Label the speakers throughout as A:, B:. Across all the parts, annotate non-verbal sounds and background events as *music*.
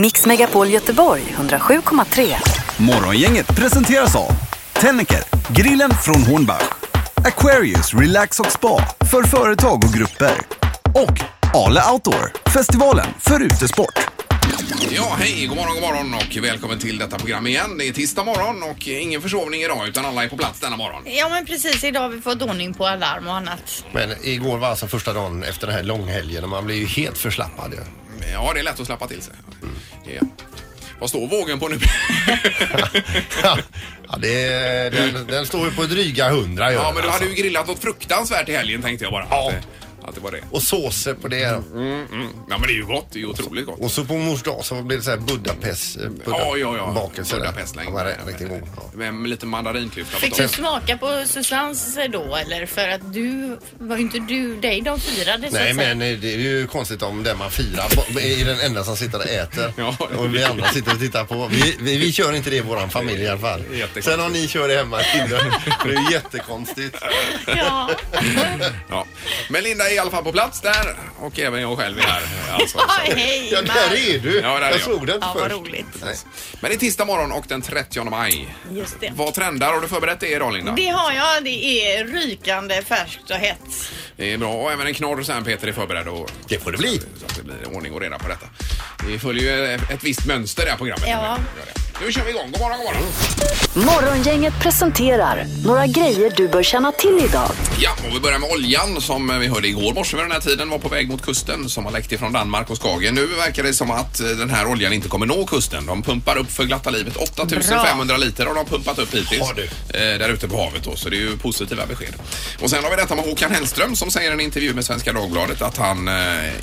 A: Mix Megapol Göteborg 107,3.
B: Morgongänget presenteras av Tennecker, grillen från Hornbach Aquarius Relax och Spa för företag och grupper och Ale Outdoor, festivalen för utesport.
C: Ja, hej, god morgon, god morgon och välkommen till detta program igen. Det är tisdag morgon och ingen försovning idag utan alla är på plats denna morgon.
D: Ja men precis, idag har vi fått ordning på alarm och annat.
E: Men igår var alltså första dagen efter den här långhelgen och man blev ju helt förslappad. ju.
C: Ja, det är lätt att slappa till sig. Ja. Vad står vågen på nu? *laughs*
E: ja, det, den, den står ju på dryga hundra. gör
C: ja,
E: den,
C: men du
E: alltså.
C: hade ju grillat något fruktansvärt i helgen tänkte jag bara.
E: Ja.
C: Att, det- att det var det.
E: Och såser på det.
C: Ja, men det är ju gott. Det är ju otroligt gott.
E: Och så på mors dag så blev det så här Budapest. eh, Buda,
C: Ja, ja, ja.
E: Bakelse. där.
C: Budapestlängd.
E: Den var ri- riktigt god. Ja.
C: Med med lite mandarinklufta på
D: Fick du
C: toppen.
D: smaka på Susannes då eller? För att du, var ju inte du dig de firade så
E: Nej
D: att säga.
E: men eh, det är ju konstigt om den man firar bo- är den enda som sitter och äter
C: Ja.
E: och vi andra sitter och tittar på. Vi, vi, vi kör inte det i våran familj i alla fall.
C: Jättekonstigt.
E: Sen om ni kör det hemma, killar, det är ju jättekonstigt.
D: *laughs* Ja.
C: Ja. Men Linda är i alla fall på plats där och även jag själv är
E: *laughs*
C: här. Alltså, så-
D: hej
E: Ja, där är du!
C: Ja, där är jag.
E: jag såg den inte
D: Ja, vad
E: först.
D: roligt.
E: Nej.
C: Men det är tisdag morgon och den 30 maj.
D: Just det.
C: Vad trendar? Har du förberett det idag Linda?
D: Det har jag, det är rykande färskt och hett.
C: Det är bra. Och även en knorr sen Peter är förberedd. Och...
E: Det får det bli.
C: Så att det blir ordning och reda på detta. Det följer ju ett visst mönster i det här programmet.
D: Ja.
C: Nu kör vi igång. God morgon, god morgon.
A: Morgongänget presenterar några grejer du bör känna till idag.
C: Ja, och vi börjar med oljan som vi hörde igår morse vid den här tiden var på väg mot kusten som har läckt ifrån Danmark och Skagen. Nu verkar det som att eh, den här oljan inte kommer nå kusten. De pumpar upp för glatta livet. 8500 liter har de pumpat upp hittills.
E: Har du?
C: eh, Där ute på havet då, så det är ju positiva besked. Och sen har vi detta med Håkan Hellström som säger i en intervju med Svenska Dagbladet att han eh,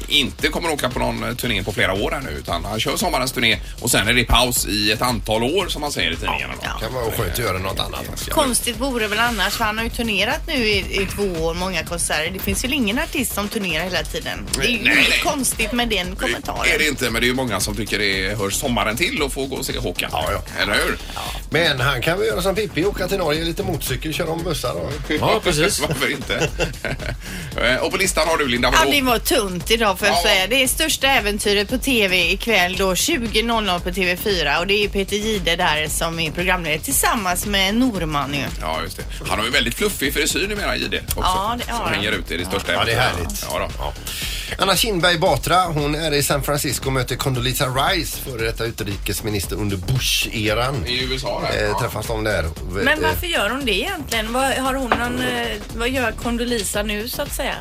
C: inte kommer åka på någon eh, turné på flera år här nu utan han kör sommarens turné och sen är det paus i ett antal år som han säger i tidningarna. då.
E: kan vara skönt att göra något annat. också.
D: Konstigt vore väl annars för han har ju turnerat nu i, i två år, många konserter. Det finns väl ingen artist som turnerar hela tiden. Det är ju
C: Nej, nej.
D: inget konstigt med den
C: är det
D: kommentaren.
C: inte, men det är ju många som tycker det hör sommaren till och få gå och se Håkan.
E: Ja, ja.
C: Eller hur?
E: Men han kan väl göra som Pippi, åka till Norge, lite motorcykel, köra om bussar och...
F: Ja, precis.
C: *laughs* Varför inte? Eh, och på listan har du Linda,
D: Ja,
C: vadå?
D: det var tunt idag får jag
C: Ja.
D: säga. Det är största äventyret på TV ikväll då 20.00 på TV4 och det är ju Peter Gide där som är programledare tillsammans med Norman ju.
C: Ja, just det. Han har ju väldigt fluffig frisyr numera, Jihde. också.
D: Ja, det har
C: Som
D: han.
C: hänger ut i det största
E: Ja, det är
C: äventyret.
E: härligt.
C: Ja, då.
E: Anna Kinberg Batra, hon är i San Francisco och möter Condoleezza Rice, före detta utrikesminister under Bush-eran.
C: I USA där.
E: Eh,
C: ja.
E: träffas de där. Eh,
G: Men varför gör hon det egentligen? Vad, har hon någon, eh, vad gör Condoleezza nu så att säga?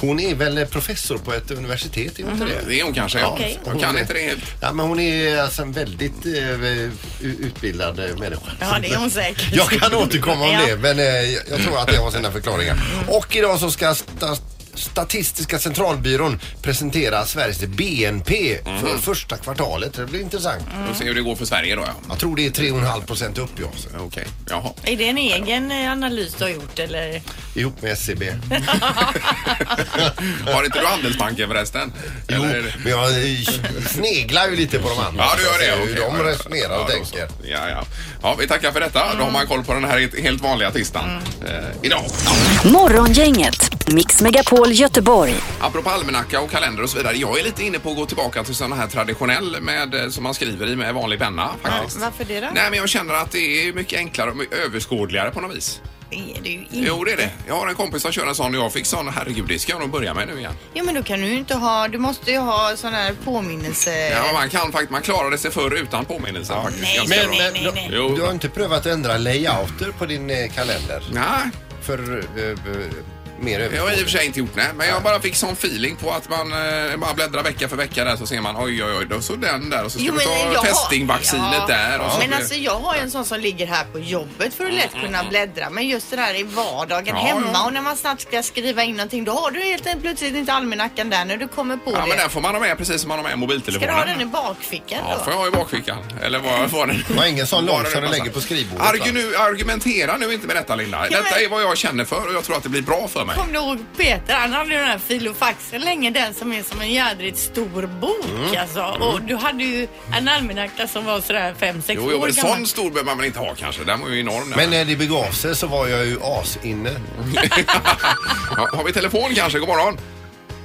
E: Hon är väl professor på ett universitet, är hon inte
G: Mm-hmm.
E: det?
C: Det är hon kanske. Ja.
G: Okej.
C: Hon kan inte det helt.
E: Ja, men hon är alltså en väldigt eh, u- utbildad eh, människa.
D: Ja, det är hon säkert.
E: Jag kan återkomma om
D: Ja.
E: det, men eh, jag- jag tror att det har sina förklaringar. Och idag så ska sta Statistiska centralbyrån presentera Sveriges BNP
C: Mm.
E: för första kvartalet. Det blir intressant.
C: Får se hur det går för Sverige då, ja.
E: Jag tror det är 3,5 procent upp, jag. så.
C: Okej. Jaha.
G: Är det en egen eh, analys du har gjort eller?
E: Ihop med E SCB.
C: Har inte du Handelsbanken förresten?
E: Jo,
C: Eller är det-
E: men jag eh, sneglar ju lite på de andra.
C: Ja, du gör
E: Så jag
C: det.
E: ser
C: okej.
E: Hur
C: Ja,
E: de
C: ja.
E: resonerar och
C: Ja, då så.
E: tänker.
C: Ja, ja. ja, vi tackar för detta. Då har man koll på den här helt vanliga tisdagen eh, idag. Ja.
A: Morgongänget, Mix Megapol Göteborg.
C: Apropå almanacka och kalender och så vidare. Jag är lite inne på att gå tillbaka till sån här traditionell med, eh, som man skriver i med vanlig penna. Faktiskt.
D: Varför det då?
C: Nej men jag känner att det är mycket enklare och mycket överskådligare på något vis.
D: Det är det ju inte.
C: Jo det är det. Jag har en kompis som kör en sån och jag fick sån. Herregud det ska jag nog börja med nu igen.
D: Ja, men då kan du ju inte ha, du måste ju ha sån här påminnelse.
C: Ja, man kan faktiskt, man klarade sig förr utan påminnelser faktiskt.
G: nej,
C: Ganska
E: Men,
C: bra.
E: men
G: nej, nej.
E: du- du har inte prövat att ändra layouter på din eh, kalender?
C: Nej,
E: För eh, eh, mer
C: jag har i och
E: överskådligt?
C: för sig inte gjort det. Men jag bara fick sån feeling på att man eh, bara bläddrar vecka för vecka där så ser man oj oj oj, då så den där och så ska
D: Jo,
C: du
D: men
C: ta
D: jag har-
C: testingvaccinet
D: Ja.
C: där. Och så
D: Men
C: blir-
D: alltså jag har ju en sån som ligger här på jobbet för att lätt kunna bläddra. Men just det där i vardagen
C: mm, Ja,
D: hemma
C: ja.
D: och när man snabbt ska skriva in någonting då har du helt plötsligt inte almanackan där när du kommer på
C: Ja
D: det.
C: men den får man ha med precis som man har med
D: Ska
C: mobiltelefonen.
D: du ha den i bakfickan
C: Ja,
D: då?
C: får jag ha i bakfickan. Eller vad var det?
E: var ingen sån
C: Vad
E: lång
C: det
E: som du
C: passar.
E: lägger på skrivbordet,
C: Argu
E: va?
C: nu, argumentera nu inte med detta Linda.
D: Ja, men-
C: Detta är vad jag känner för och jag tror att det blir bra för mig.
G: Kom du ihåg Peter, han hade ju den här filofaxen länge, den som är som en jädrigt stor bok
C: Mm.
G: alltså. Och du hade ju en almanacka som var sådär 5-6
C: Jo, jo
G: år
C: men
G: gammal.
C: sån stor behöver man väl inte ha kanske. Den var ju enorm. den.
E: Men eh, när det begav
C: Mm.
E: sig så var jag ju asinne.
C: Ja, har vi telefon kanske? God morgon.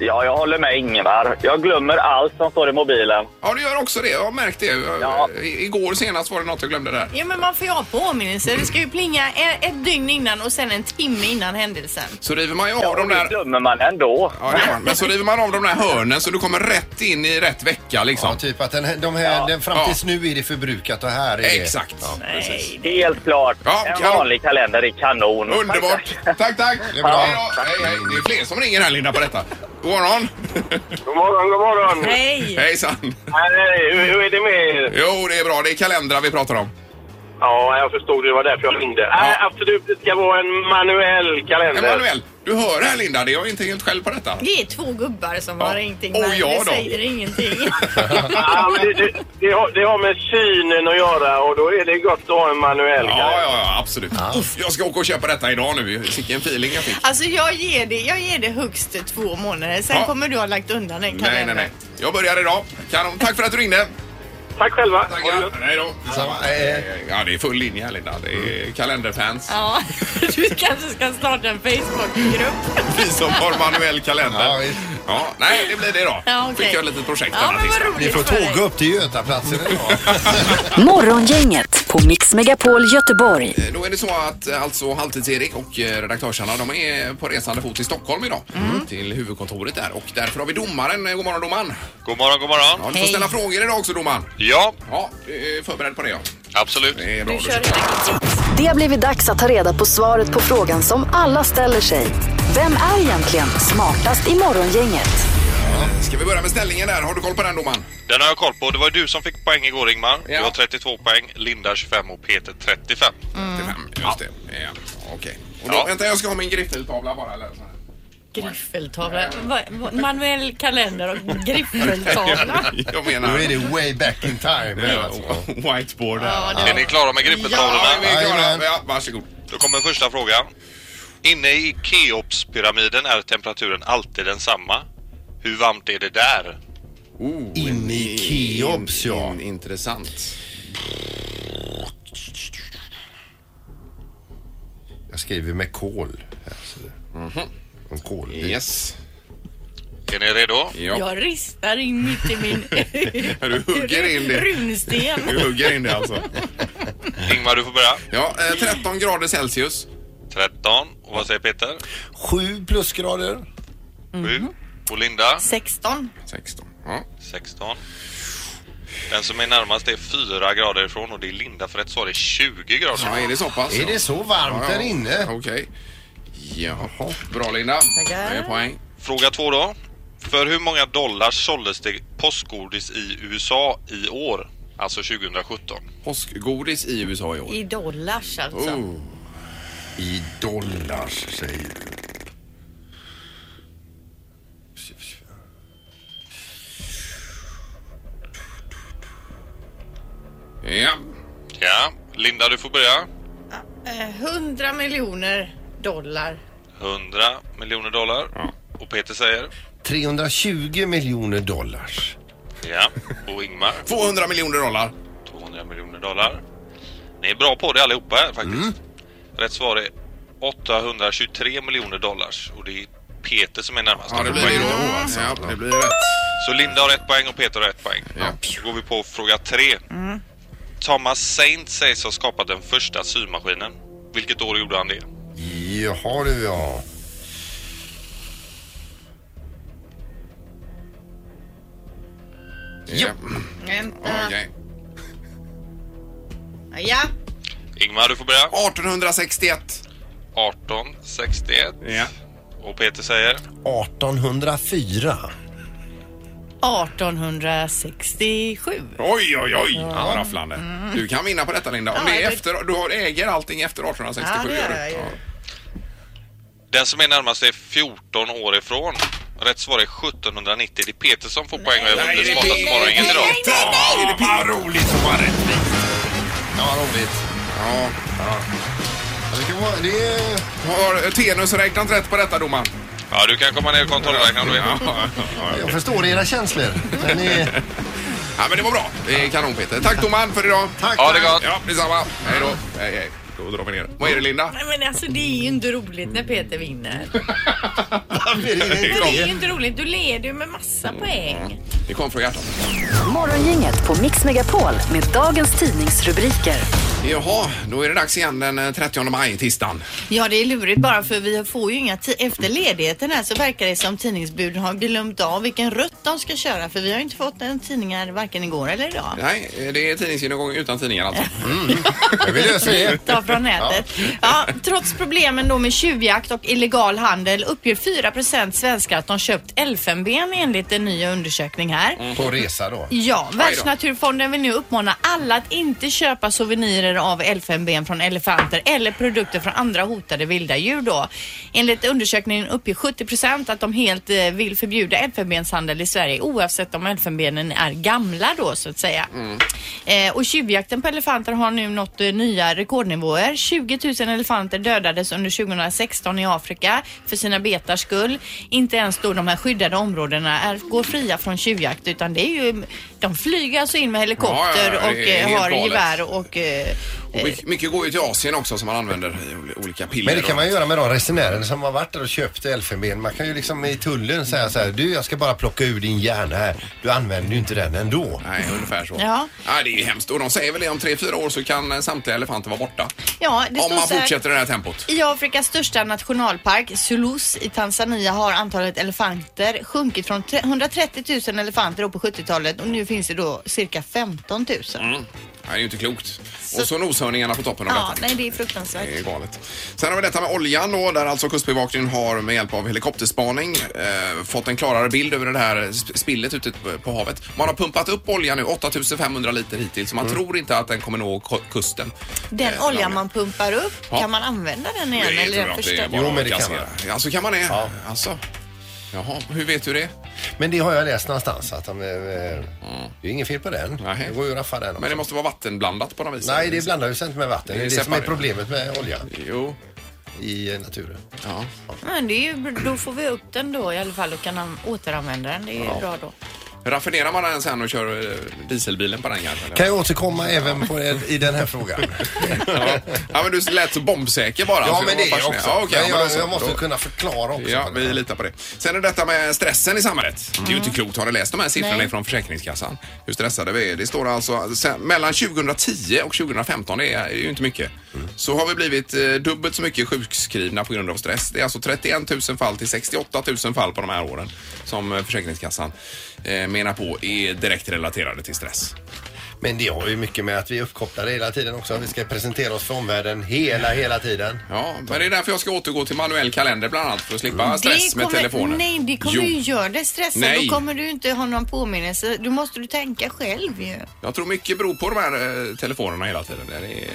H: Ja, jag håller med Ingvar. Jag glömmer allt som står i mobilen.
C: Ja, du gör också det. Jag har märkt det. Eh,
H: Ja.
C: I- Igår senast var det något jag glömde där.
D: Ja, men man får ju ha påminnelser. Det ska ju plinga e- ett dygn innan och sen en timme innan händelsen.
C: Så river man ju av
H: Ja,
C: de
H: det
C: där...
H: glömmer man ändå.
C: Ja, det gör man. men så river man av de där hörnen så du kommer rätt in i rätt vecka
E: Ja,
C: liksom.
E: typ att den, här- de här, den fram
C: Ja.
E: tills nu är det förbrukat och här är det...
C: Exakt.
D: Nej.
H: Helt klart.
C: Ja,
H: en
C: ja.
H: vanlig kalender är kanon.
C: Underbart! Tack, tack!
E: Det är bra.
C: Hej, då. hej, hej. Det är fler som ringer här, Linda, på detta. God
H: *laughs*
C: morgon!
H: God morgon, god morgon!
C: *laughs*
D: Nej.
C: Hejsan!
H: Nej, hur, hur är det med er?
C: Jo, det är bra. Det är kalendrar vi pratar om.
H: Ja, jag förstod det var därför jag ringde. Nej, absolut, det ska vara en manuell kalender.
C: Emanuel, du hör här, Linda. Det är jag inte helt själv på detta.
D: Det är två gubbar som
C: Ja.
D: har ringt in.
C: Och
D: men
C: jag
D: det
C: då? *laughs*
D: säger ingenting.
H: Ja, men det, det, det, har, det har med synen att göra och då är det gott att ha en manuell
C: Ja,
H: kalender.
C: ja, ja, absolut. Uff, jag ska åka och köpa detta idag nu. Vilken feeling jag fick.
D: Alltså jag ger det, jag ger det högst två månader. Sen
C: Ja.
D: kommer du ha lagt undan den
C: Nej, nej,
D: kalendern.
C: nej. Jag börjar idag. Kanon. Tack för att du ringde.
H: Tack själva! Ha det
C: Tackar.
H: gott.
C: Hej då.
E: Samma, eh,
C: Ja, det är full linje här, Linda. Det är kalenderfans.
D: Mm. Ja, *laughs* du kanske ska starta en Facebookgrupp.
C: *laughs* Vi som har manuell
E: Ja,
C: kalender.
E: visst.
C: Ja, nej, det blir det då.
D: Ja, okej.
C: Fick jag ett litet projekt.
D: Ja,
C: annat
D: men
C: extra.
D: vad roligt
E: Ni får
D: för dig.
E: tåga upp till Götaplatsen
C: Mm.
E: idag.
A: Morgongänget på Mix Megapol Göteborg.
C: Eh, Då är det så att eh, alltså Halvtids-Erik och eh, redaktörsarna de är på resande fot till Stockholm idag.
D: Mm.
C: Till huvudkontoret där och därför har vi domaren. Eh, God morgon domaren!
I: God morgon, god morgon.
C: Ja, du får ställa frågor idag också domaren.
I: Ja,
C: Ja, du är förberedd på det ja.
I: absolut.
C: Det är bra.
D: Du kör helt enkelt.
A: Det har blivit dags att ta reda på svaret på frågan som alla ställer sig. Vem är egentligen smartast i morgongänget?
C: Ska vi börja med ställningen där? Har du koll på den domaren?
I: Den har jag koll på. Det var ju du som fick poäng igår Ingmar.
C: Ja.
I: Du har 32 poäng, Linda 25 och Peter 35.
D: Mm.
C: 35, just det. Ja, Okej. Och då,
I: Ja.
C: Vänta, jag ska ha min griffeltavla bara. Eller, så här.
D: Griffeltavla. Va- va- Manuell kalender och
C: *laughs*
D: griffeltavla.
C: jag
E: *laughs* Då
C: menar...
E: är det way back in time. alltså.
C: eh, Whiteboard här.
D: Ja,
I: Är ni klara med
C: Ja,
I: grippetavlorna?
C: vi är klara.
E: Jajamän.
C: Ja, varsågod.
I: Då kommer första frågan. Inne i Keopspyramiden är temperaturen alltid densamma. Hur varmt är det där?
C: Oh,
E: In i Keops, ja.
C: in- Intressant.
E: Jag skriver med kol. här, så det- En kol.
C: Yes.
I: Är ni redo?
C: Ja.
D: Jag ristar in mitt i
C: *laughs*
D: min
C: Du hugger in det.
D: runsten.
C: Du hugger in det alltså.
I: Ingmar, du får börja.
C: Ja, eh, 13 grader Celsius.
I: 13. Och vad säger Peter?
E: Sju plusgrader.
I: 7.
C: Mhm.
I: Och Linda?
D: 16.
C: 16. Ja.
I: 16. Den som är närmast är 4 grader ifrån och det är Linda för rätt svar är 20
C: ja,
I: grader.
C: är det så pass?
E: Är det så
C: Ja,
E: varmt
C: ja.
E: där inne?
C: Okej. Jaha. Bra Linda.
D: Tackar.
C: Det är poäng.
I: Fråga två då. För hur många dollar såldes det postgodis i USA i år? Alltså 2017.
C: Påskgodis i USA i år.
D: I dollars alltså.
C: Oh.
E: I dollar säger du.
C: Ja.
I: Ja, Linda du får börja.
D: Eh, 100 miljoner dollar.
I: 100 miljoner dollar. Och Peter säger?
E: 320 miljoner dollars.
I: Ja. Och Ingmar?
C: 200 miljoner dollar.
I: 200 miljoner dollar. Ni är bra på det allihopa här faktiskt.
C: Mm.
I: Rätt svar är 823 miljoner dollars. Och det är Peter som är närmast.
C: Ja, det blir det då. Alltså. Ja, det blir rätt.
I: Så Linda har ett poäng och Peter har ett poäng.
C: Ja.
I: Då går vi på fråga tre.
C: Mm.
I: Thomas Saint sägs ha skapat den första symaskinen. Vilket år gjorde han det?
E: Jaha du ja.
C: Ja.
D: Vänta.
C: Okej.
D: Ja.
I: Ingmar, du får börja.
C: 1861.
I: 1861.
C: Ja.
I: Och Peter säger?
E: 1804.
D: 1867.
C: Oj, oj, oj! Ja. Rafflande. Du kan vinna på detta Linda. Om
D: Mm. Ja,
C: det är
D: det-
C: efter, du har- äger allting efter 1867.
D: Ja, det
C: gör du.
D: gör jag ju.
I: Den som är närmast är 14 år ifrån. Rätt svar är 1790. Det är Peter som får poäng och jag har
C: Nej, det
I: vunnit
C: är
I: smartaste
C: Peter.
I: morgonen idag.
C: Ja, det är Vad roligt som var rättvist.
E: Ja, roligt.
C: Ja.
E: Ja, Det, kan vara, det är...
C: Har Tenus räknat rätt på detta domaren?
I: Ja, du kan komma ner och kontrollräkna om du vill.
C: *laughs*
E: Jag förstår era känslor. Men ni...
C: Ja, men det var bra. Det är kanon Peter. Tack domaren för idag.
E: Tack.
I: Ha det gott!
C: Ja, detsamma. Hej då. Hej, hej. Då drar vi ner. Vad är det Linda?
G: Nej, men alltså det är ju inte roligt när Peter
D: *laughs*
G: vinner.
E: Det är
G: Det är ju inte roligt. Du leder ju med massa poäng.
C: Det kom från hjärtat.
A: Morgongänget på Mix Megapol med dagens tidningsrubriker.
C: Jaha, då är det dags igen den eh, 30 maj, tisdagen.
D: Ja, det är lurigt bara för vi får ju inga ti- Efter ledigheten här så verkar det som tidningsbuden har glömt av vilken rutt de ska köra för vi har ju inte fått en tidningar varken igår eller idag.
C: Nej, eh, det är tidningsgenomgång utan tidningar alltså.
E: Jag vill lösa det.
D: Ta från nätet. *laughs* Ja, trots problemen då med tjuvjakt och illegal handel uppger 4 svenskar att de köpt elfenben enligt en ny undersökning här.
E: På resa då.
D: Ja, Världsnaturfonden vill nu uppmana alla att inte köpa souvenirer av elfenben från elefanter eller produkter från andra hotade vilda djur då. Enligt undersökningen uppger 70 att de helt eh, vill förbjuda elfenbenshandel i Sverige oavsett om elfenbenen är gamla då så att säga.
C: Mm.
D: Eh, och tjuvjakten på elefanter har nu nått eh, nya rekordnivåer. 20 000 elefanter dödades under 2016 i Afrika för sina betars skull. Inte ens då de här skyddade områdena är, går fria från tjuvjakt utan det är ju, de flyger alltså in med helikopter
C: Ja, ja, ja,
D: och
C: det är
D: eh,
C: helt
D: har
C: galet.
D: gevär och eh,
C: Och mycket, mycket går ju till Asien också som man använder i ol- olika piller.
E: Men det kan
C: och-
E: man ju göra med de resenärerna som har varit där och köpt elfenben. Man kan ju liksom i tullen säga så här, du jag ska bara plocka ur din hjärna här. Du använder ju inte den ändå.
C: Nej, ungefär så.
D: Ja.
C: det är ju hemskt. Och de säger väl det, om tre fyra år så kan eh, samtliga elefanter vara borta.
D: ja, det
C: om
D: står
C: man
D: så här-
C: fortsätter i det här tempot.
D: I Afrikas största nationalpark, Zulus i Tanzania, har antalet elefanter sjunkit från tre- 130 000 elefanter upp på 70-talet och nu finns det då cirka 15 000.
C: Nej, det är ju inte klokt. Och så noshörningarna på toppen av
D: Ja,
C: detta.
D: nej det är fruktansvärt.
C: Det är galet. Sen har vi detta med oljan då, där alltså Kustbevakningen har med hjälp av helikopterspaning eh, fått en klarare bild över det här sp- spillet ute på- på havet. Man har pumpat upp olja nu, 8500 liter hittills, så man
E: Mm.
C: tror inte att den kommer nå ko- kusten.
D: Den
C: Eh,
D: oljan man pumpar upp,
C: Ja.
D: kan man använda den igen
C: Det
D: eller
C: tror
D: är den
C: jag att det
D: förstörd?
C: är bara
E: Jo, men det
C: att
E: kan
C: kassera. Ja, så kan man det? Ja.
E: Ja.
C: Alltså. Jaha, hur vet du det?
E: Men det har jag läst någonstans att de, eh, det är inget fel på den.
C: Nej.
E: Det går ju att raffa den också.
C: Men det måste vara vattenblandat på något vis?
E: Nej, det blandar ju sig inte med vatten.
C: Det
E: Det
C: är
E: är det som är
C: separat.
E: problemet med olja
C: Jo,
E: i eh, naturen.
C: ja.
G: Men det är ju, då får vi upp den då i alla fall och kan an- återanvända den. Det är ju bra då.
C: Raffinerar man den sen och kör eh, dieselbilen på den kanske? eller?
E: Kan jag återkomma även på, i den här frågan?
C: *laughs* Ja. ja, men du lät så bombsäker bara.
E: ja,
C: Så
E: men
C: var
E: det är jag
C: fascinerande.
E: också.
C: Ja, okej,
E: men
C: ja, men
E: jag,
C: då så.
E: jag måste
C: Då-
E: kunna förklara också.
C: Ja, vi litar på det. Sen är det detta med stressen i samhället. Det är ju
D: Mm.
C: inte klokt. Har ni läst de här siffrorna från Försäkringskassan? Hur stressade vi är. Det står alltså sen, mellan 2010 och 2015, det är ju inte mycket,
D: Mm.
C: så har vi blivit eh, dubbelt så mycket sjukskrivna på grund av stress. Det är alltså 31 000 fall till 68 000 fall på de här åren som eh, Försäkringskassan eh, menar på är direkt relaterade till stress.
E: Men det har ju mycket med att vi är uppkopplade hela tiden också. Vi ska presentera oss för omvärlden hela, hela tiden.
C: Ja, men det är därför jag ska återgå till manuell kalender bland annat för att slippa stress med telefonen.
D: Mm. Nej, det kommer
C: Jo.
D: ju göra dig stressad.
C: Nej.
D: Då kommer du inte ha någon påminnelse. Då måste du tänka själv ju.
C: Jag tror mycket beror på de här eh, telefonerna hela tiden. Det är,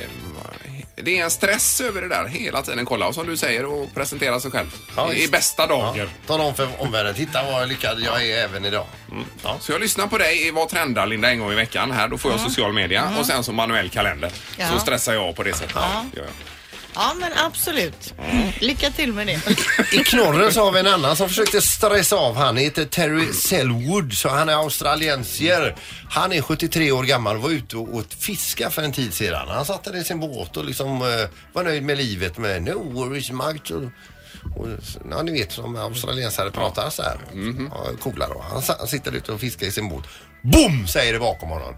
C: det är en stress över det där hela tiden. Kolla, och som du säger, och presentera sig själv
E: Ja,
C: i
E: visst.
C: bästa
E: Ja.
C: dagar.
E: Tala om för omvärlden, titta vad lyckad jag är även idag. Ja.
C: Så jag lyssnar på dig i Vad trendar Linda en gång i veckan. Här, då får jag social media
E: Mm.
C: och sen så manuell kalender.
D: Ja.
C: Så stressar jag av på det sättet. Ja.
D: Ja, men absolut.
C: Mm.
D: Lycka till med det.
C: *laughs*
E: I knorren så har vi en annan som försökte stressa av. Han heter Terry Selwood, så han är australiensier. Han är 73 år gammal och var ute och åt fiska för en tid sedan. Han satt där i sin båt och liksom eh, var nöjd med livet med no worries much. Och, och, ja, ni vet som australiensare pratar så här. Ja, coola då. Han, sa- han sitter ute och fiskar i sin båt. Boom! säger det bakom honom.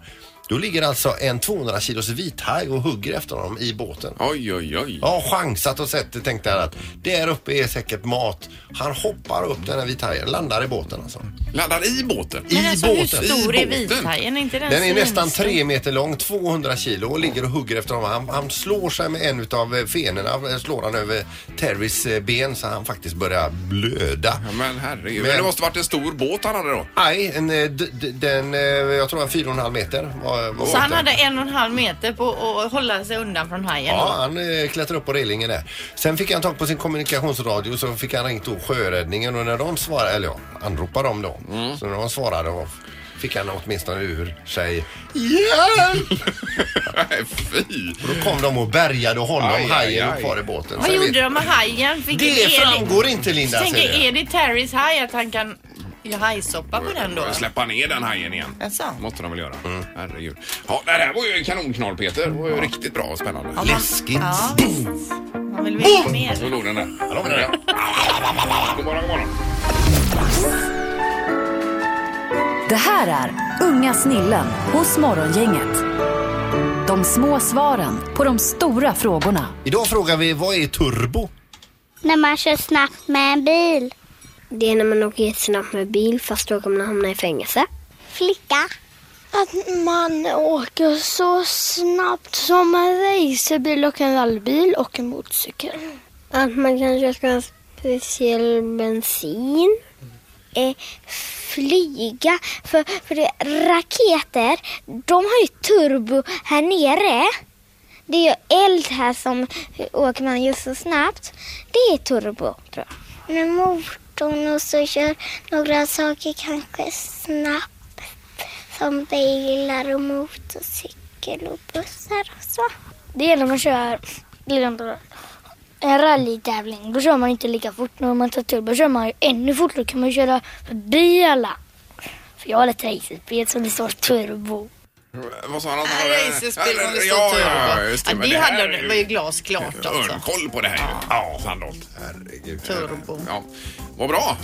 E: Då ligger alltså en 200 kilos vithaj och hugger efter honom i båten.
C: Oj, oj, oj.
E: Ja, chansat och sett det tänkte han att där uppe är säkert mat. Han hoppar upp den här vithajen, landar i båten alltså.
C: Laddar i båten.
E: I
D: alltså,
E: båten.
G: Hur stor
C: I
G: är
C: båten?
G: vithajen? Är inte den
E: Den är nästan
G: svinstor?
E: tre meter lång, 200 kilo och ligger och hugger efter honom. Han, han slår sig med en av fenorna, eh, slår han över Terrys eh, ben så han faktiskt börjar blöda.
C: Ja, men herregud. Men...
E: Men-
C: Det måste varit en stor båt han hade då.
E: Nej, en, eh, d- d- den, eh, jag tror en fyra och en halv meter var, var
G: Så han
E: båten.
G: hade en och en halv meter på att hålla sig undan från hajen.
E: Ja,
G: då.
E: han eh, klättrade upp på relingen där. Sen fick han tag på sin kommunikationsradio så fick han ringt då sjöräddningen och när de svarade, eller ja, anropade dem då. Så när de svarade och fick han åtminstone ur sig Hjälp!
C: Nej, *laughs* Fy!
E: Och då kom de och bärgade honom,
C: Aj, aj,
E: hajen
C: aj.
E: och kvar i båten.
G: Vad
E: Sen
G: gjorde
E: vet-
G: de med hajen? Fick-
E: Det
G: är
E: framgår inte Linda.
G: Tänk,
E: säger jag.
G: är det Terrys haj att han kan
D: ju hajsoppa på den då.
C: Släppa ner den hajen igen.
D: Jaså?
C: Måste de väl göra.
E: Mm.
C: Herregud. Ja, det här var ju en kanonknall Peter. Det var ju riktigt bra och spännande.
D: Ja, man-
E: Läskigt.
D: Ja, visst. Man vill veta mer.
C: Så låg den där. Ja, den där. God morgon, god morgon.
A: Det här är Unga snillen hos Morgongänget. De små svaren på de stora frågorna.
E: Idag frågar vi vad är turbo?
J: När man kör snabbt med en bil. Det är när man åker jättesnabbt med bil fast då kommer man hamna i fängelse. Flicka. Att man åker så snabbt som en racerbil och en rallybil och en motorcykel. Att man kanske ska ha speciell bensin. Eh, flyga, för, för det, raketer, de har ju turbo här nere. Det är ju eld här som åker man ju så snabbt. Det är turbo, tror jag. Med motorn och så kör några saker kanske snabbt. Som bilar och motorcykel och bussar och så. Det är när man kör liksom, en rallytävling. Då kör man inte lika fort. När man tar turbo kör man ju ännu fortare. Då kan man köra förbi alla. För jag har ett racerbil som det står turbo.
C: Vad sa han? att han hade-
D: Racerspel om det står
C: Ja,
D: tur
C: ja,
D: på.
C: just
D: Ja,
C: men
D: det
C: här
D: hade
C: är
D: de-
C: ju-
D: var ju glasklart också.
C: Örnkoll på det här ju. Ja, Sandholt. Herregud.
D: Turbo.
C: Ja, vad bra.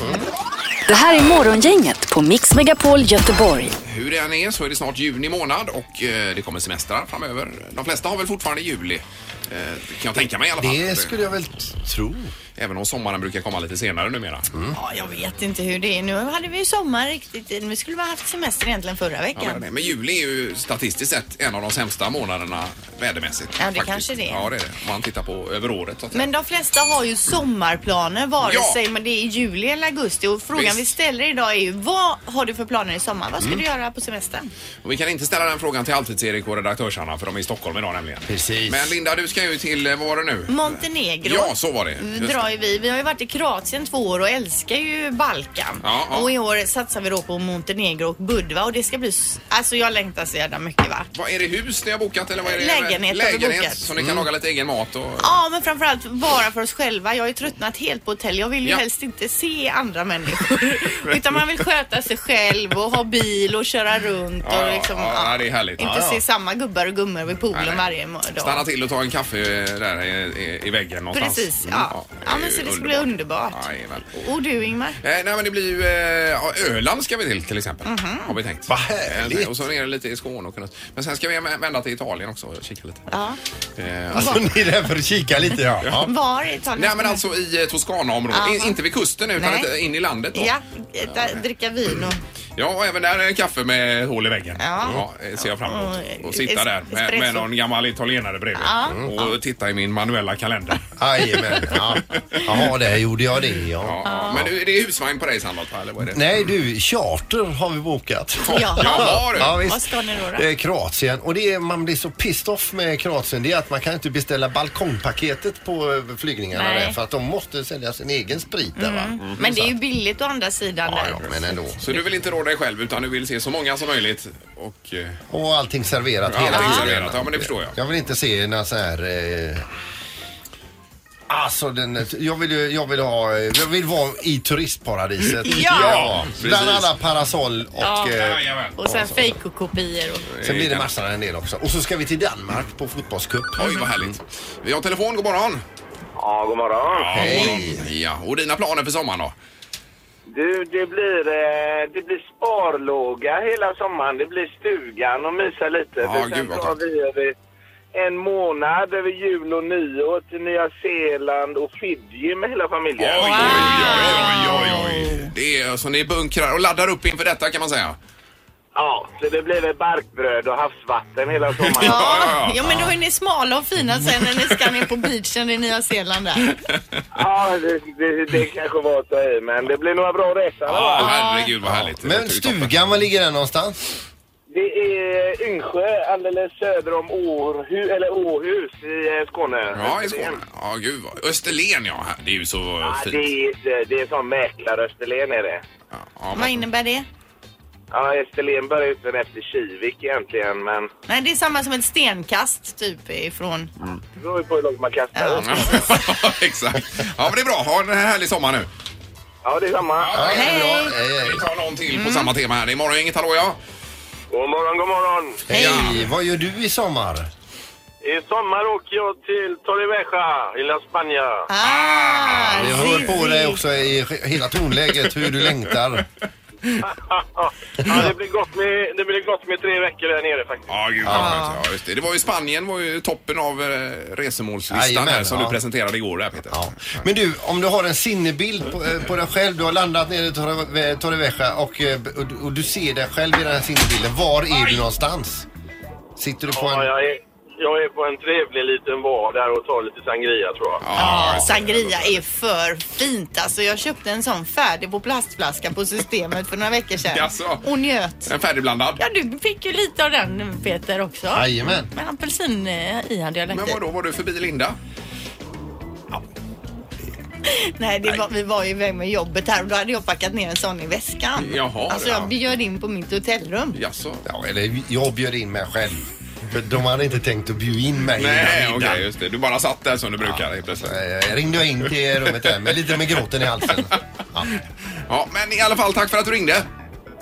A: Det här är Morgongänget på Mix Megapol Göteborg.
C: Hur det än är så är det snart juni månad och eh, det kommer semestrar framöver. De flesta har väl fortfarande juli. eh, Kan jag tänka mig i alla fall.
E: Det skulle jag väl t- tro.
C: Även om sommaren brukar komma lite senare numera.
E: Mm.
D: Ja, jag vet inte hur det är. Nu hade vi ju sommar riktigt. Vi skulle ha haft semester egentligen förra
C: Ja, men,
D: veckan.
C: men juli är ju statistiskt sett en av de sämsta månaderna vädermässigt.
D: Ja, det kanske det är.
C: Ja, det är det. Om man tittar på över året. Så att
D: Men de flesta har ju sommarplaner vare
C: Ja.
D: sig men det är i juli eller augusti och frågan
C: Visst. Mm.
D: vi ställer idag är ju vad har du för planer i sommar? Vad ska du göra på semestern?
C: Och vi kan inte ställa den frågan till Halvtids-Erik och redaktörsarna för de är i Stockholm idag nämligen.
E: Precis.
C: Men Linda, du ska ju till, eh, vad var det nu?
D: Montenegro.
C: Ja, så var det.
D: Vi
C: Just
D: Drar ju vi. vi har ju varit i Kroatien två år och älskar ju Balkan.
C: Ja, ja.
D: Och i år satsar vi då på Montenegro och Budva och det ska bli... s- Alltså jag längtar så jävla mycket va?
C: Vad är det hus ni har bokat eller vad är det?
D: Lägenhet har vi
C: Lägenhet
D: bokat.
C: som ni
E: Mm.
C: kan laga lite egen mat och...
D: Ja, men framförallt vara för oss själva. Jag har ju tröttnat helt på hotell. Jag vill ju
C: Ja.
D: helst inte se
C: *laughs*
D: andra människor. Utan man vill sköta sig själv och ha bil och köra runt.
C: Ja,
D: Och
C: ja,
D: liksom,
C: ja, det är härligt.
D: Inte
C: Ja, ja.
D: se samma gubbar och gummor vid poolen
C: Nej, nej.
D: varje dag.
C: Stanna till och ta en kaffe eh, där i, i, i väggen någonstans.
D: Precis,
C: Mm,
D: ja.
C: det är
D: Ja, men
C: ju
D: så det ska bli underbart.
C: Jajamän.
D: Och du Ingmar?
C: Eh, nej men det blir ju, eh, ja, Öland ska vi till till exempel.
D: Mhm.
C: Har vi tänkt.
E: Vad härligt.
C: Eh, Och så ner lite i Skåne och kunna... Men sen ska vi vä- vända till Italien också och kika lite.
D: Ja.
C: Eh,
E: Alltså ni är där för att kika lite ja. ja.
D: Var i Italien?
C: nej men alltså i eh, Toscanaområdet.
D: Aha.
C: In, inte vid kusten utan
D: Nej.
C: lite in i landet då.
D: Ja, äta, dricka vin och...
C: Ja, och även där är kaffe med hål i väggen.
D: Ja.
C: eh, ser jag fram emot.
D: Och,
C: Och sitta
D: es-
C: där med,
D: espresso.
C: med någon gammal italienare bredvid.
D: Ja.
C: Och titta i min manuella
D: *laughs*
C: kalender.
E: Jajamän. Ja. Jaha, där gjorde jag det ja.
C: Ja, Men nu är det husvagn på dig Sandholt, va? eller vad är det?
E: Nej du, charter har vi bokat.
D: Ja.
C: Jaha du!
E: Ja, visst.
D: Vad ska ni då? då?
E: Det är Kroatien och det är, man blir så pissed off med Kroatien det är att man kan inte beställa balkongpaketet på eh, flygningarna
D: Nej. Mm.
E: där för att de måste sälja sin egen sprit där va.
D: Men det är ju billigt å andra sidan
E: Ja,
D: där.
E: ja, men ändå.
C: Så du vill inte rå dig själv utan du vill se så många som möjligt och eh,
E: Och allting serverat hela
C: allting
E: tiden.
C: serverat. Ja men det förstår jag.
E: Jag vill inte se några så här... Eh... Alltså, den, jag, vill ju, jag, vill ha, eh, jag vill vara i turistparadiset.
D: Ja!
E: Bland
C: precis.
E: alla parasoll och...
D: Ja.
E: Eh,
C: Jajamän.
D: Och sen fejkkopior och...
E: sen blir det massor en del också. Och så ska vi till Danmark på fotbollscup.
C: Oj vad härligt. Vi har telefon, god morgon.
F: Ja, god morgon.
C: Hej. Ja, och dina planer för sommaren då?
F: Du, det blir, eh, det blir sparlåga hela sommaren. Det blir stugan och mysa lite.
C: Ja,
F: För
C: gud,
F: sen
C: vad
F: tar
C: skönt.
F: vi över en månad över jul och nyår till Nya Zeeland och Fiji med hela familjen.
C: Oj, oj, oj, oj, oj. Det är så ni bunkrar och laddar upp inför detta kan man säga.
F: Ja, så det blir väl barkbröd och havsvatten hela sommaren.
D: Ja,
C: ja, ja.
D: ja, men då är ni smala och fina sen när ni ska ner på beachen i Nya Zeeland där.
F: Ja, det, det, det kanske var att ta i, men det blir några bra rätter.
C: Ja, herregud vad härligt. Det
E: Men
C: låter ju toppen.
E: stugan, var ligger den någonstans?
F: Det är Yngsjö, alldeles söder om Århus, eller Åhus i eh, Skåne.
C: Ja, i Skåne. Ja, gud vad. Österlen ja, det är ju så
F: Ja, det,
C: fint.
F: är, det är som Mäklarösterlen är det.
C: Ja, ja, *laughs*
D: Vad innebär det?
F: Ja, Österlen börjar ut den efter Kivik egentligen, men
D: Nej, det är samma som ett stenkast typ ifrån.
F: det
C: Mm.
F: beror ju på hur långt man kastar.
D: Ja.
F: Ja.
C: Ja, Exakt. Ja, men det är bra. Ha en härlig sommar nu.
F: Ja, det är samma.
C: Ja, det är bra.
E: Hej, hej.
C: Vi tar någon till på samma tema här. Det är morgon, inget hallå ja.
F: God morgon, god morgon.
E: Hej, vad gör du i sommar?
F: I sommar åker jag till Torrevieja i La Spagna.
D: Ah,
E: Jag hör på
D: Zizi.
E: dig också i hela tonläget hur du längtar.
F: *laughs* ja, det blir, gott med, det blir gott med tre veckor där nere faktiskt.
C: Ja, gud vad skönt. Ja, just det. det var ju Spanien var ju toppen av eh, resemålslistan
E: Jajamän,
C: här som
E: ja.
C: du presenterade igår där Peter.
E: Ja. Men du, om du har en sinnebild på, eh, på dig själv, du har landat nere i Torre- Torrevieja och, eh, och, du- och du ser dig själv i den här sinnebilden. Var är du någonstans? Sitter du på
F: Ja,
E: en...
F: jag, är, jag är på en trevlig liten bar där och tar lite sangria tror jag.
D: Ja, sangria är för fint. Alltså, jag köpte en sån färdig på plastflaska på systemet för några veckor sedan.
C: Jaså?
D: Och njöt.
C: En färdigblandad.
G: Ja, du fick ju lite av den Peter också.
E: Jajamän.
G: Men apelsin eh, i hade jag lagt
C: Men
G: i.
C: vadå, var du förbi Linda?
D: Nej, det var, vi var ju iväg med jobbet här och då hade jag packat ner en sån i väskan.
C: Jaha,
D: alltså
C: ja.
D: jag bjöd in på mitt hotellrum.
C: Jaså?
E: Ja, eller jag bjöd in mig själv. För de hade inte tänkt att bjuda in mig
C: Nej,
E: innan
C: okej,
E: middagen.
C: just det. Du bara satt där som du brukar helt plötsligt.
E: Eh, ringde jag in till rummet där med lite med gråten i halsen. Ja.
C: Ja, men i alla fall tack för att du ringde.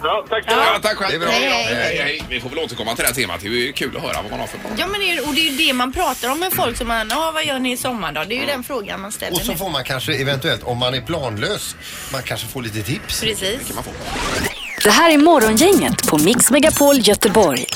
F: Ja, tack så
C: Ja,
F: mycket.
C: tack själv.
E: Det är bra.
C: Hej,
E: Hej,
C: hej, hej. Vi får väl återkomma till det här temat. Det är ju kul att höra vad man har för barn.
G: Ja, men det är, och det är ju det man pratar om med folk som man, ja vad gör ni i sommar då? Det är ju den frågan man ställer
E: Och så
G: nu.
E: får man kanske eventuellt, om man är planlös, man kanske får lite tips.
G: Precis.
C: Kan man få.
A: Det här är Morgongänget på Mix Megapol Göteborg.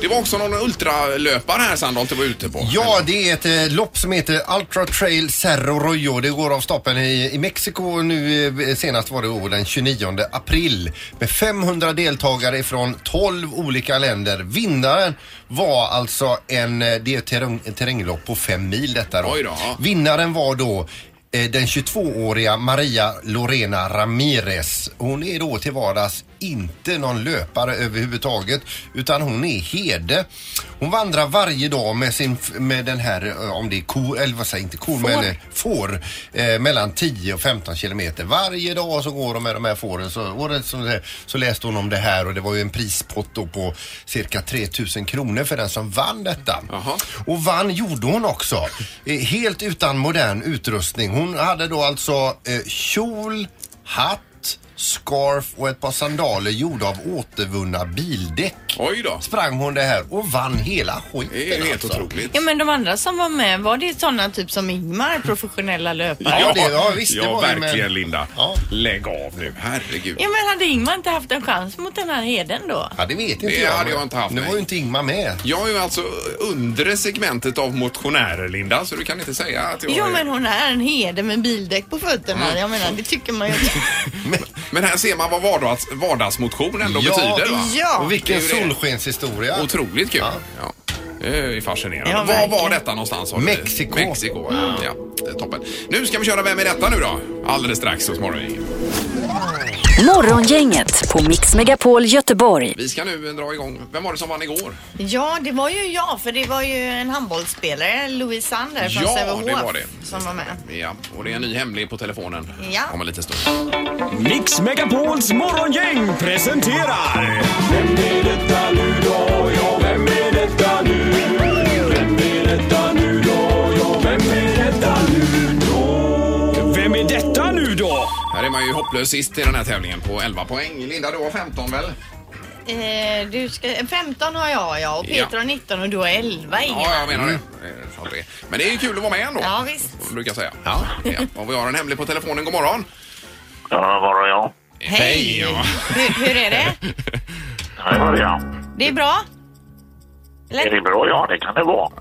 C: Det var också någon ultralöpare här Sandholt du var ute på.
E: Ja, det är ett eh, lopp som heter Ultra Trail Cerro Royo. Det går av stapeln i, i Mexiko nu eh, senast var det år, den 29 april med 500 deltagare från 12 olika länder. Vinnaren var alltså en, eh, det är ett terräng, ett terränglopp på fem mil detta då.
C: Oj då.
E: Vinnaren var då eh, den 22-åriga Maria Lorena Ramirez. Hon är då till vardags inte någon löpare överhuvudtaget utan hon är herde. Hon vandrar varje dag med sin, med den här, eh, om det är kor, eller vad säger inte kor, men eller får, eh, mellan 10 och 15 kilometer. Varje dag så går de med de här fåren. Så, året så, så läste hon om det här och det var ju en prispott då på cirka 3000 kronor för den som vann detta.
C: Jaha.
E: Och vann gjorde hon också. Eh, Helt utan modern utrustning. Hon hade då alltså eh, kjol, hatt, scarf och ett par sandaler gjorda av återvunna bildäck.
C: Oj då.
E: Sprang hon det här och vann hela skiten
C: Det är ju helt
E: alltså.
C: otroligt.
G: Ja, men de andra som var med, var det sådana typ som Ingmar, professionella löpare?
E: Ja, det- ja, visst, det
C: ja,
E: var ju, men-
C: verkligen Linda.
E: Ja.
C: Lägg av nu, herregud.
G: Ja, men hade Ingmar inte haft en chans mot den här heden då?
E: Ja, det vet inte
C: Det
E: jag.
C: hade
E: men
C: jag inte haft,
E: Nu
C: nej.
E: var ju inte Ingmar med.
C: Jag är ju alltså undre segmentet av motionärer, Linda, så du kan inte säga att jag...
G: Ja,
C: är-
G: men hon är en herde med bildäck på
C: Mm.
G: fötterna. Jag menar, det tycker man ju.
C: *laughs* *laughs* men här ser man vad vardags, vardagsmotion ändå
E: Ja,
C: betyder, va?
G: Ja,
E: och vilken
C: det är ju det.
E: solskenshistoria.
C: Otroligt kul. Ja.
E: Ja.
C: Det är ju fascinerande.
G: Ja,
C: Var var
G: verkligen.
C: detta någonstans? sa du?
E: Mexiko.
C: Mexiko, ja. ja. det är Toppen. Nu ska vi köra Vem är detta nu då? Alldeles strax hos Morgongänget.
A: Morgongänget på Mix Megapol Göteborg.
C: Vi ska nu dra igång. Vem var det som vann igår?
D: Ja, det var ju jag för det var ju en handbollsspelare, Louise Sander från
C: Ja,
D: Sävehof
C: det var det.
D: som var med.
C: Ja, och det är en ny hemlig på telefonen
D: Ja.
C: om en liten stund.
H: Mix Megapols morgongäng presenterar... Vem är detta nu då? Ja, vem är detta nu? Vem är detta nu då? Ja, vem är detta nu då? Vem är detta nu då?
C: Här är man ju hopplös sist i den här tävlingen på 11 poäng. Linda, du har 15 väl?
D: Eh, du ska, 15 har jag ja och Peter
C: Ja.
D: har 19 och du har 11 Ingemar.
C: Ja, jag menar det. Eh, så att det. Men det är ju kul att vara med ändå.
D: Ja, visst.
C: Brukar jag säga. Ja. Och vi har en hemlig på telefonen. God morgon.
F: Ja, var är jag?
C: Hej! Ja.
D: Hur, hur är det?
F: Här var jag.
D: Det är bra?
F: Är det bra? Ja, det kan det vara.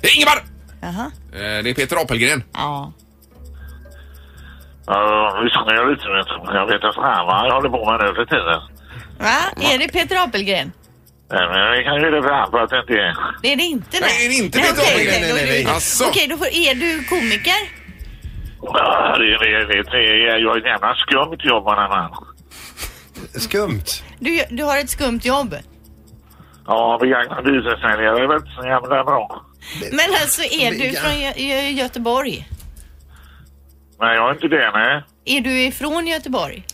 C: Det är Ingemar!
D: Jaha.
C: Eh, Det är Peter Apelgren.
D: Ja.
F: Uh, lyssnar jag lite nu. Jag vet inte fan vad jag håller på med nu för tiden.
D: Va? Är det Peter Apelgren?
F: Nej, Men vi kan ju det fram för att det inte är...
D: Det är det inte
C: Nej, det är det inte
D: Nej,
C: Peter
D: okej,
C: Apelgren.
D: okej, då är
E: Nej, nej,
D: det-
E: nej.
C: Asså.
D: Okej, då får, är du komiker?
F: Ja, det, det, det, det, jag har ett jävla skumt jobb man har.
E: Skumt.
D: Du, du har ett skumt jobb.
F: Ja, begagnad bilförsäljare är väl inte så jävla bra.
D: Men alltså är du
E: Mega.
D: från Gö- Gö- Göteborg?
F: Nej, jag är inte det, nej.
D: Är du ifrån Göteborg?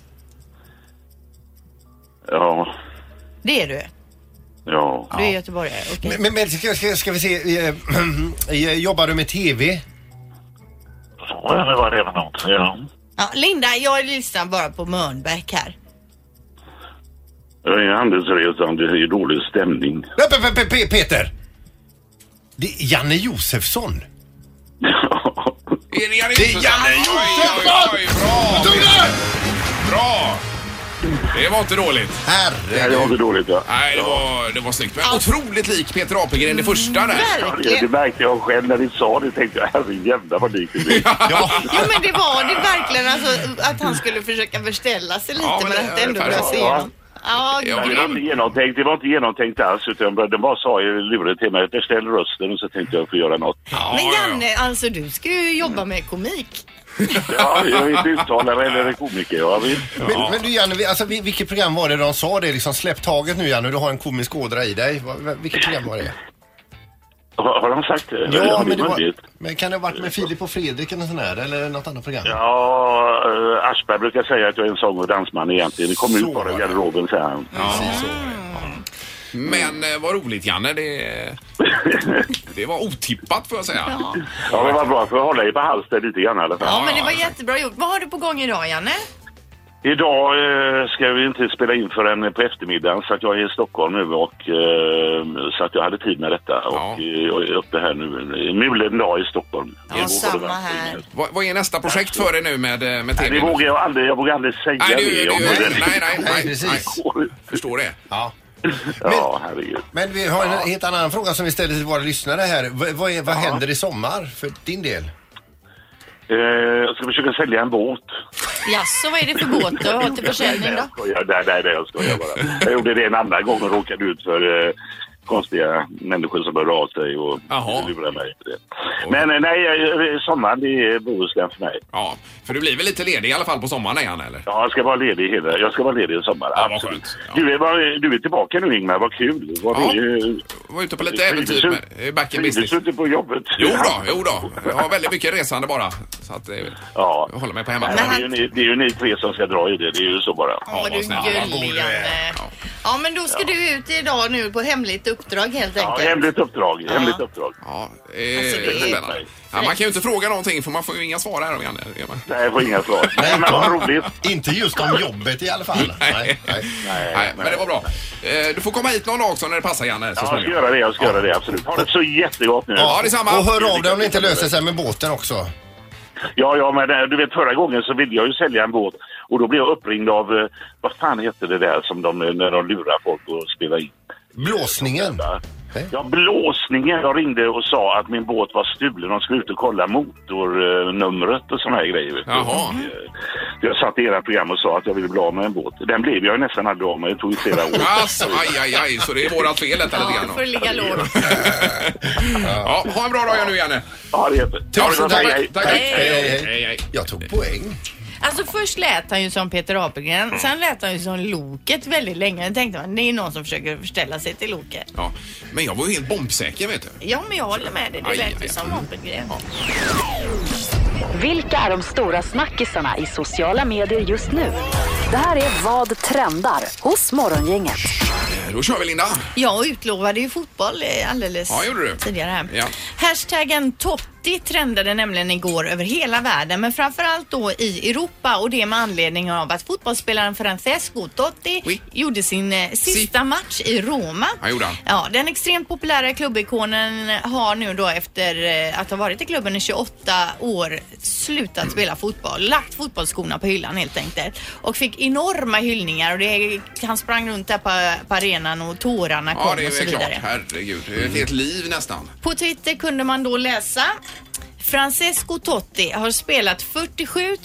F: Ja,
D: Det är du.
F: ja.
D: Du är göteborgare. okej.
E: Men, men, men ska, ska, ska vi se, eh, *clears throat* eh, jobbar du med TV?
F: Så är det vad det är för något. Ja.
D: Ja, Linda, jag lyssnar bara på Mörnbäck här.
K: Eh, Handelsresan, det är ju dålig stämning.
E: Nej, Pe- Pe- Pe- Peter! Det är Janne Josefsson.
C: Är det Janne
E: Det är Janne Josefsson!
C: Bra!
E: Tog det!
C: Bra! Det var inte dåligt.
K: Nej, det var
E: Herregud.
K: inte dåligt. Ja.
C: Nej, det var, det var snyggt. Men otroligt lik Peter Apelgren, det första
D: Mm,
C: där. *laughs*
K: Ja, det märkte jag själv när ni sa det. tänkte jag, herrejävlar vad likt det blir.
E: Ja.
D: Jo men det var det verkligen alltså att han skulle försöka förställa sig lite
C: Ja, men
D: men,
C: det-
D: att det ändå
C: ungefär
D: bröt
K: så.
D: sig igenom. Ja,
C: Ja,
K: Det var inte genomtänkt, det var inte genomtänkt alls utan de bara sa i luren till mig att ställ rösten och så tänkte jag få göra något.
C: Ja,
D: men
C: ja, ja.
D: Janne, alltså du ska ju jobba med komik.
K: Ja, jag är inte uttalare eller komiker. Jag vill.
E: Men, men du Janne, vi- alltså, vi- vilket program var det de sa det liksom? Släpp taget nu Janne, du har en komisk ådra i dig. Va- va- Vilket program var det?
K: Har, har de sagt det?
E: Ja,
K: Har
E: men det var...
K: möjlighet?
E: Men kan det ha varit med Filip och Fredrik eller sån här? Eller något annat program?
K: Ja, eh, Aschberg brukar säga att jag är en sång och dansman egentligen. Det kom
E: Så
K: ut bara
E: var
K: i
E: det.
K: garderoben, säger han.
E: Precis så.
C: Men eh, vad roligt Janne,
K: *laughs*
C: det, det var otippat får jag säga.
K: Ja, det var bra för att hålla er på halster lite grann i alla fall.
D: Ja, men det var
C: ja.
D: jättebra gjort. Vad har du på gång idag Janne?
K: Idag eh, ska vi inte spela in förrän på eftermiddagen så att jag är i Stockholm nu och eh, så att jag hade tid med detta och eh, jag är uppe här nu. en Mulen dag i Stockholm. Det vågar
D: samma
K: jag verkligen
D: här.
K: inte.
C: Vad, vad är nästa projekt för dig nu med, eh, med
K: Nej,
C: TV?
K: det vågar jag aldrig, jag vågar aldrig säga
C: Nej, du,
K: det.
C: du,
K: om
C: nej,
K: det.
C: nej, nej,
E: Nej,
C: nej, nej,
E: precis.
C: förstår det.
E: Ja.
K: Ja, herregud.
E: Men vi har en helt annan fråga som vi ställer till våra lyssnare här. V- vad är, vad händer i sommar för din del?
K: Eh, jag ska försöka sälja en båt.
D: Jaså, vad är det för båt du har till försäljning
K: Nej,
D: då?
K: jag skojar. Nej, nej, nej, jag skojar bara. Jag gjorde det en annan gång och råkade ut för eh, konstiga människor som hörde av sig och
C: Jaha.
K: lurade mig. Men eh, nej, eh, sommaren det är Bohuslän för mig.
C: Ja, för du blir väl lite ledig i alla fall på sommaren Janne eller?
K: Ja, jag ska vara ledig hela, jag ska vara ledig i sommar.
C: Ja, vad
K: absolut.
C: skönt. Ja.
K: Du, är, var, du är tillbaka nu Ingmar, vad kul. Var
C: Ja.
K: du, eh,
C: Var ute på lite
K: trivdes du-
C: äventyr med eh, back in
K: Trivdes
C: business.
K: du inte på jobbet?
C: Jo då, jo då. Jag har väldigt mycket resande bara. Så att eh,
K: Ja.
C: jag håller mig på
K: Nej,
C: hemmaplan.
K: det, är ju ni, det är ju ni tre som ska dra i det, det är ju så bara.
D: Åh,
C: vad
D: du
C: snäll. Ja, vad
D: gullig Janne. Ja, men då ska du ut idag nu på hemligt uppdrag helt
K: Ja,
D: enkelt.
K: hemligt uppdrag, hemligt uppdrag.
C: Ja, eh,
D: Alltså, det är-
C: spännande. ja, man kan ju inte fråga någonting för man får ju inga svar här om Janne. gör man?
K: Nej, jag får inga svar. Nej, men vad roligt.
E: Inte just om jobbet i alla fall. Nej, nej.
K: Nej,
C: Nej, men det var bra. Eh, Du får komma hit någon dag också när det passar Janne. Så
K: Ja, jag ska
C: småningom.
K: göra det, jag ska göra det, absolut. Ha det så jättegott nu.
C: Ja, detsamma.
E: Och hör av dig om det inte löser sig med båten också.
K: Ja, ja, men eh, du vet förra gången så ville jag ju sälja en båt och då blev jag uppringd av, eh, vad fan hette det där som de, eh, när de lurar folk att spela in?
E: Blåsningen. Nej.
K: Ja, blåsningen. Jag ringde och sa att min båt var stulen. De skulle ut och kolla motornumret och såna här grejer. vet du.
C: Jaha.
K: Eh, Jag satt i era program och sa att jag ville bli av med en båt. Den blev jag ju nästan aldrig av med. Det tog ju flera år.
C: Alltså, aj, aj, aj. Så det är vårat fel detta lite
D: Ja,
C: grann.
D: du
C: då.
D: får ligga lågt.
C: Ja, ha en bra dag nu Janne.
K: Ja, det är det. Ha det gott.
E: tack.
K: Hej, hej.
C: Tack.
E: Hej, hej, hej.
C: Hej, hej.
E: Jag tog poäng.
D: Alltså först lät han ju som Peter
C: Mm.
D: Apelgren, sen lät han ju som Loket väldigt länge. Då tänkte man, det är någon som försöker förställa sig till Loket.
C: Ja, men jag var ju helt bombsäker vet du.
D: Ja, men jag håller med dig. Det
C: Aj,
D: lät
C: aj,
D: ju som Apelgren.
A: Vilka är de stora snackisarna i sociala medier just nu? Det här är Vad trendar hos Morgongänget.
C: Eh, Då kör vi Linda.
D: Jag utlovade ju fotboll eh, alldeles
C: Ja, gjorde du.
D: tidigare här.
C: Ja.
D: Hashtaggen Totti trendade nämligen igår över hela världen men framförallt då i Europa och det med anledning av att fotbollsspelaren Francesco Totti
C: Oui.
D: gjorde sin eh, sista match i Roma.
C: Ja, gjorde han.
D: Ja, den extremt populära klubbikonen har nu då efter eh, att ha varit i klubben i 28 år slutat spela fotboll. Lagt fotbollsskorna på hyllan helt enkelt. Och fick enorma hyllningar och det, han sprang runt där på, på arenan och tårarna kom
C: Ja, det
D: och
C: är
D: så
C: väl klart.
D: vidare.
C: Herregud, det är ett helt liv nästan.
D: På Twitter kunde man då läsa Francesco Totti har spelat 47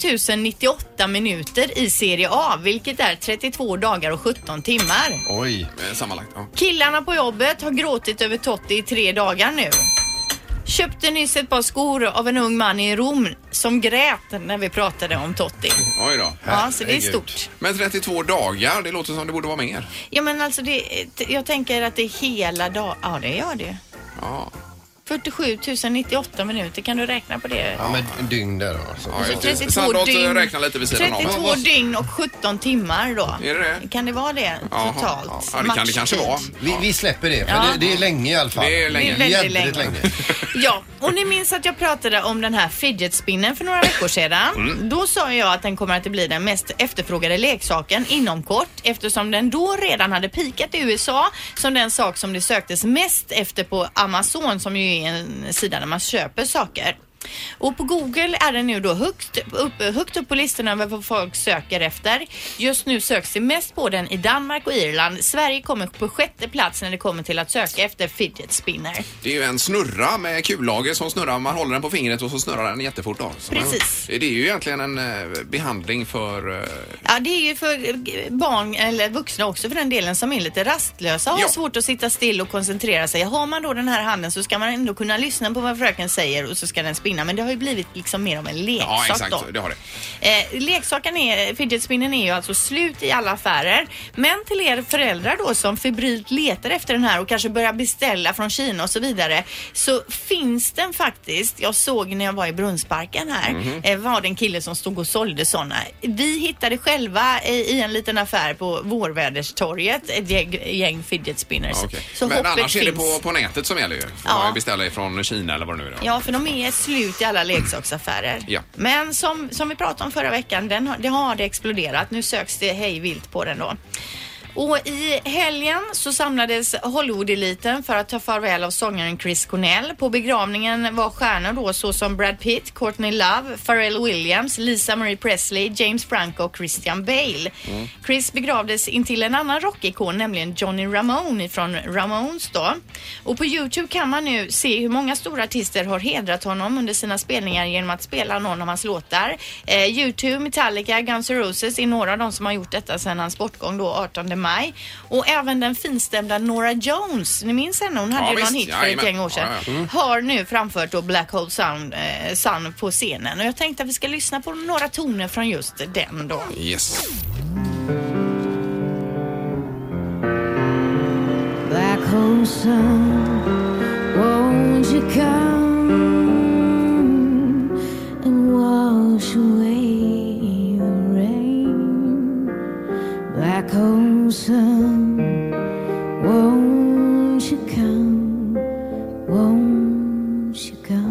D: 098 minuter i Serie A, vilket är 32 dagar och 17 timmar.
E: Oj.
C: Eh, Sammanlagt. Ja.
D: Killarna på jobbet har gråtit över Totti i tre dagar nu. Köpte nyss ett par skor av en ung man i Rom som grät när vi pratade om Totti.
C: Oj då.
D: Ja, så det är
E: Herregud.
D: stort.
C: Men 32 dagar, det låter som det borde vara mer.
D: Ja, men alltså det, jag tänker att det är hela dag. Ja, det gör det.
C: Ja,
D: 47 098 minuter, kan du räkna på det?
E: Ja, men dygn där alltså.
C: ja just det.
D: 32
C: Sandholt eh,
D: dygn,
C: räknar lite vid sidan av.
D: 32 dygn och 17 timmar då.
C: Är det det?
D: Kan det vara det
C: Jaha.
D: totalt?
C: Ja, det kan det kanske
D: Matchtid.
C: vara.
E: Vi, vi släpper det, för
D: Ja.
E: det, det är länge i alla fall.
C: Det är länge.
D: Det är väldigt
E: Jädrigt
D: länge. Ja, och ni minns att jag pratade om den här fidget spinnen för några veckor sedan.
G: Mm.
D: Då sa jag att den kommer att bli den mest efterfrågade leksaken inom kort eftersom den då redan hade pikat i USA som den sak som det söktes mest efter på Amazon som ju är en sida där man köper saker. Och på Google är den nu då högt upp, högt upp på listan över vad folk söker efter. Just nu söks det mest på den i Danmark och Irland. Sverige kommer på sjätte plats när det kommer till att söka efter fidget spinner.
C: Det är ju en snurra med kullager som snurrar. Man håller den på fingret och så snurrar den jättefort. Då. Så
D: Precis.
C: Man, det är ju egentligen en eh, behandling för... eh,
D: Ja, det är ju för barn, eller vuxna också för den delen, som är lite rastlösa och har
C: Ja.
D: svårt att sitta still och koncentrera sig. Har man då den här handen så ska man ändå kunna lyssna på vad fröken säger och så ska den spinna. Men det har ju blivit liksom mer av en leksak
C: ja, exakt.
D: då.
C: Det har det.
D: Eh, leksaken är, fidget spinnen är ju alltså slut i alla affärer. Men till er föräldrar då som febrilt letar efter den här och kanske börjar beställa från Kina och så vidare. Så finns den faktiskt. Jag såg när jag var i Brunnsparken här.
G: Mhm.
D: eh, var det en kille som stod och sålde sådana. Vi hittade själva eh, i en liten affär på Vårväderstorget ett gäng, gäng fidget spinners.
C: Ja, okej.
D: Så
C: Men
D: hoppet
C: annars är det
D: finns.
C: på, på nätet som gäller ju. Får
D: Ja.
C: man beställa ifrån Kina eller vad det nu är.
D: Ja, för de är slut i alla leksaksaffärer.
C: Ja.
D: Men som, som vi pratade om förra veckan, den, har- det har det exploderat. Nu söks det hej vilt på den då. Och i helgen så samlades Hollywood-eliten för att ta farväl av sångaren Chris Cornell. På begravningen var stjärnor då såsom Brad Pitt, Courtney Love, Pharrell Williams, Lisa Marie Presley, James Franco och Christian Bale.
G: Mm.
D: Chris begravdes intill en annan rockikon, nämligen Johnny Ramone från Ramones då. Och på Youtube kan man nu se hur många stora artister har hedrat honom under sina spelningar genom att spela någon av hans låtar. Eh, Youtube, Metallica, Guns N' Roses är några av de som har gjort detta sedan hans bortgång då 18 maj. Och även den finstämda Nora Jones, ni minns henne? Hon hade
G: Ja,
D: ju någon
G: visst.
D: hit för ett
G: Jajamän.
D: gäng år sedan.
G: Ja, ja. Mm.
D: Har nu framfört då Black Hole Sound, eh, Sun på scenen. Och jag tänkte att vi ska lyssna på några toner från just den då.
C: Yes.
L: Black hole sun, won't you come and wash away the rain? Black hole sun, won't you come, won't you come?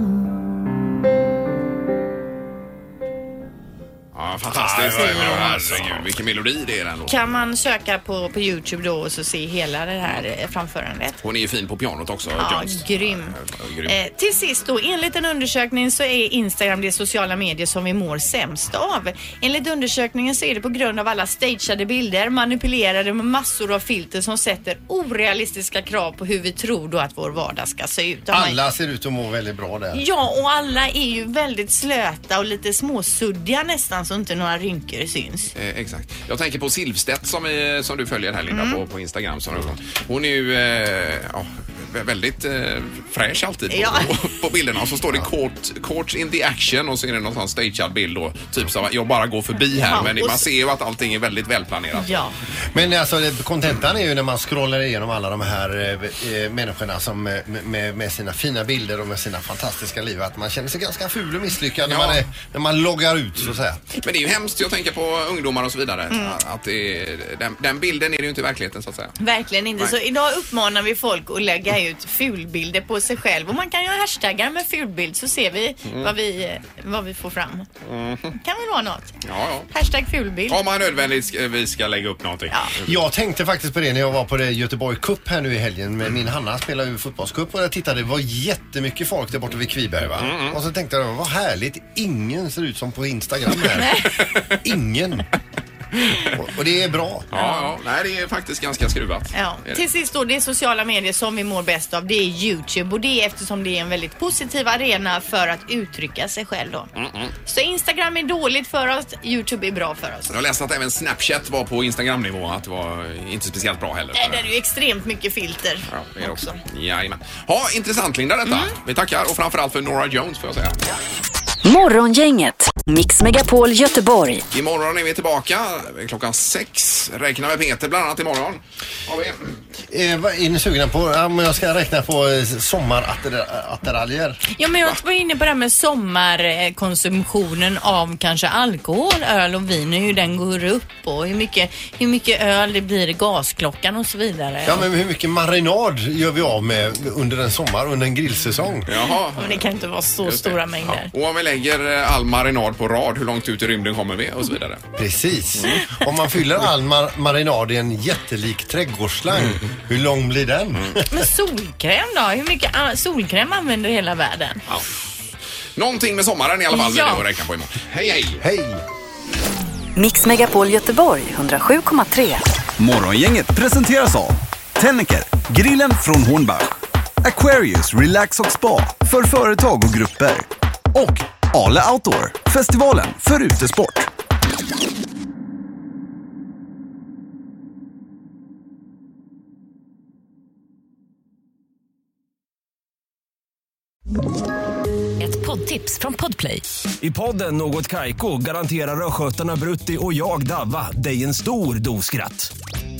C: Ja, fantastiskt.
G: Ja, ja, ja,
C: Ja,
G: ja.
C: Herregud, vilken melodi det är den låten.
D: Kan man söka på, på Youtube då och så se hela det här eh, framförandet?
C: Hon är ju fin på pianot också,
D: Ja,
C: Jones.
D: grym.
C: Ja, grym.
D: Eh, till sist då, enligt en undersökning så är Instagram det sociala medier som vi mår sämst av. Enligt undersökningen så är det på grund av alla stageade bilder, manipulerade med massor av filter som sätter orealistiska krav på hur vi tror då att vår vardag ska se ut. Om man-
E: Alla ser ut att må väldigt bra där.
D: Ja, och alla är ju väldigt slöta och lite småsuddiga nästan så inte några rynkor syns.
C: Eh, exakt. Jag tänker på Silvstedt som, är, som du följer här
D: Mm.
C: Linda på, på Instagram. Som hon, hon är ju eh, ja, vä- väldigt eh, fräsch alltid på,
D: Ja.
C: *laughs* på, på bilderna. Och så står det court, court in the action och så är det någon sån stagead bild då. Typ som att jag bara går förbi här
E: Ja,
C: men
E: och
C: man
E: s-
C: ser ju att allting är väldigt välplanerat.
D: Ja.
E: Men alltså det- kontentan är ju när man scrollar igenom alla de här eh, eh, människorna som eh, med, med sina fina bilder och med sina fantastiska liv att man känner sig ganska ful och misslyckad när, man är, när man loggar ut så att säga.
C: Men det är ju hemskt, jag tänker på ungdomar och så vidare.
D: Mm.
C: Att det är, den, den bilden är det ju inte i verkligheten så att säga.
D: Verkligen inte.
C: Nej.
D: Så idag uppmanar vi folk att lägga ut fulbilder på sig själv. Och man kan göra hashtaggar med fulbild så ser vi,
C: Mm.
D: vad, vi eh, vad vi får fram. kan väl vara något?
C: Ja, ja.
D: Hashtag fulbild.
C: Om man nödvändigtvis ska lägga upp någonting.
E: Jag tänkte faktiskt på det när jag var på det Göteborg Cup här nu i helgen. Med min Hanna spelade ju fotbollscup och jag tittade. Det var jättemycket folk där borta vid Kviberg va? Och så tänkte jag, vad härligt. Ingen ser ut som på Instagram här. *laughs* Ingen. Och, och det är bra.
C: Ja, ja. Nej, det är faktiskt ganska skruvat.
D: Ja.
C: Är det.
D: Till sist då, det är sociala medier som vi mår bäst av. Det är Youtube och det är eftersom det är en väldigt positiv arena för att uttrycka sig själv då. Så Instagram är dåligt för oss, Youtube är bra för oss.
C: Jag läste att även Snapchat var på Instagram-nivå, att det var inte speciellt bra heller.
D: Nej, det är ju extremt mycket filter.
C: Ja, det är det också. Jajamän. Ja,
D: Mm.
C: intressant Linda detta. Vi tackar och framförallt för Nora Jones får jag säga.
A: Morgongänget Mix Megapol Göteborg.
C: Imorgon är vi tillbaka klockan sex. Räknar med Peter bland annat imorgon. Har vi-
E: Eh, vad är ni sugna på? Ja, men jag ska räkna på eh, sommarattiraljer.
D: Ja, men jag var inne på det här med sommarkonsumtionen av kanske alkohol, öl och vin. Hur den går upp och hur mycket, hur mycket öl det blir i gasklockan och så vidare.
E: Ja, men hur mycket marinad gör vi av med under en sommar, under en grillsäsong?
C: Jaha.
D: Men det kan inte vara så
C: Just det.
D: stora mängder.
C: Och om vi lägger eh, all marinad på rad, hur långt ut i rymden kommer vi och så vidare.
E: Precis. Om man fyller all mar- marinad i en jättelik trädgårdsslang, hur lång blir den?
D: Men solkräm då? Hur mycket a- solkräm använder hela världen?
C: Någonting med sommaren i alla fall blir
D: Ja.
C: det att räkna på imorgon. Hej, hej!
E: Hej!
A: Mix Megapol Göteborg 107,3.
B: Morgongänget presenteras av Tennicker, grillen från Hornbach, Aquarius Relax och Spa för företag och grupper och Ale Outdoor, festivalen för utesport.
M: Ett poddtips från Podplay.
H: I podden Något Kaiko garanterar östgötarna Brutti och jag, Davva, dig en stor dos skratt.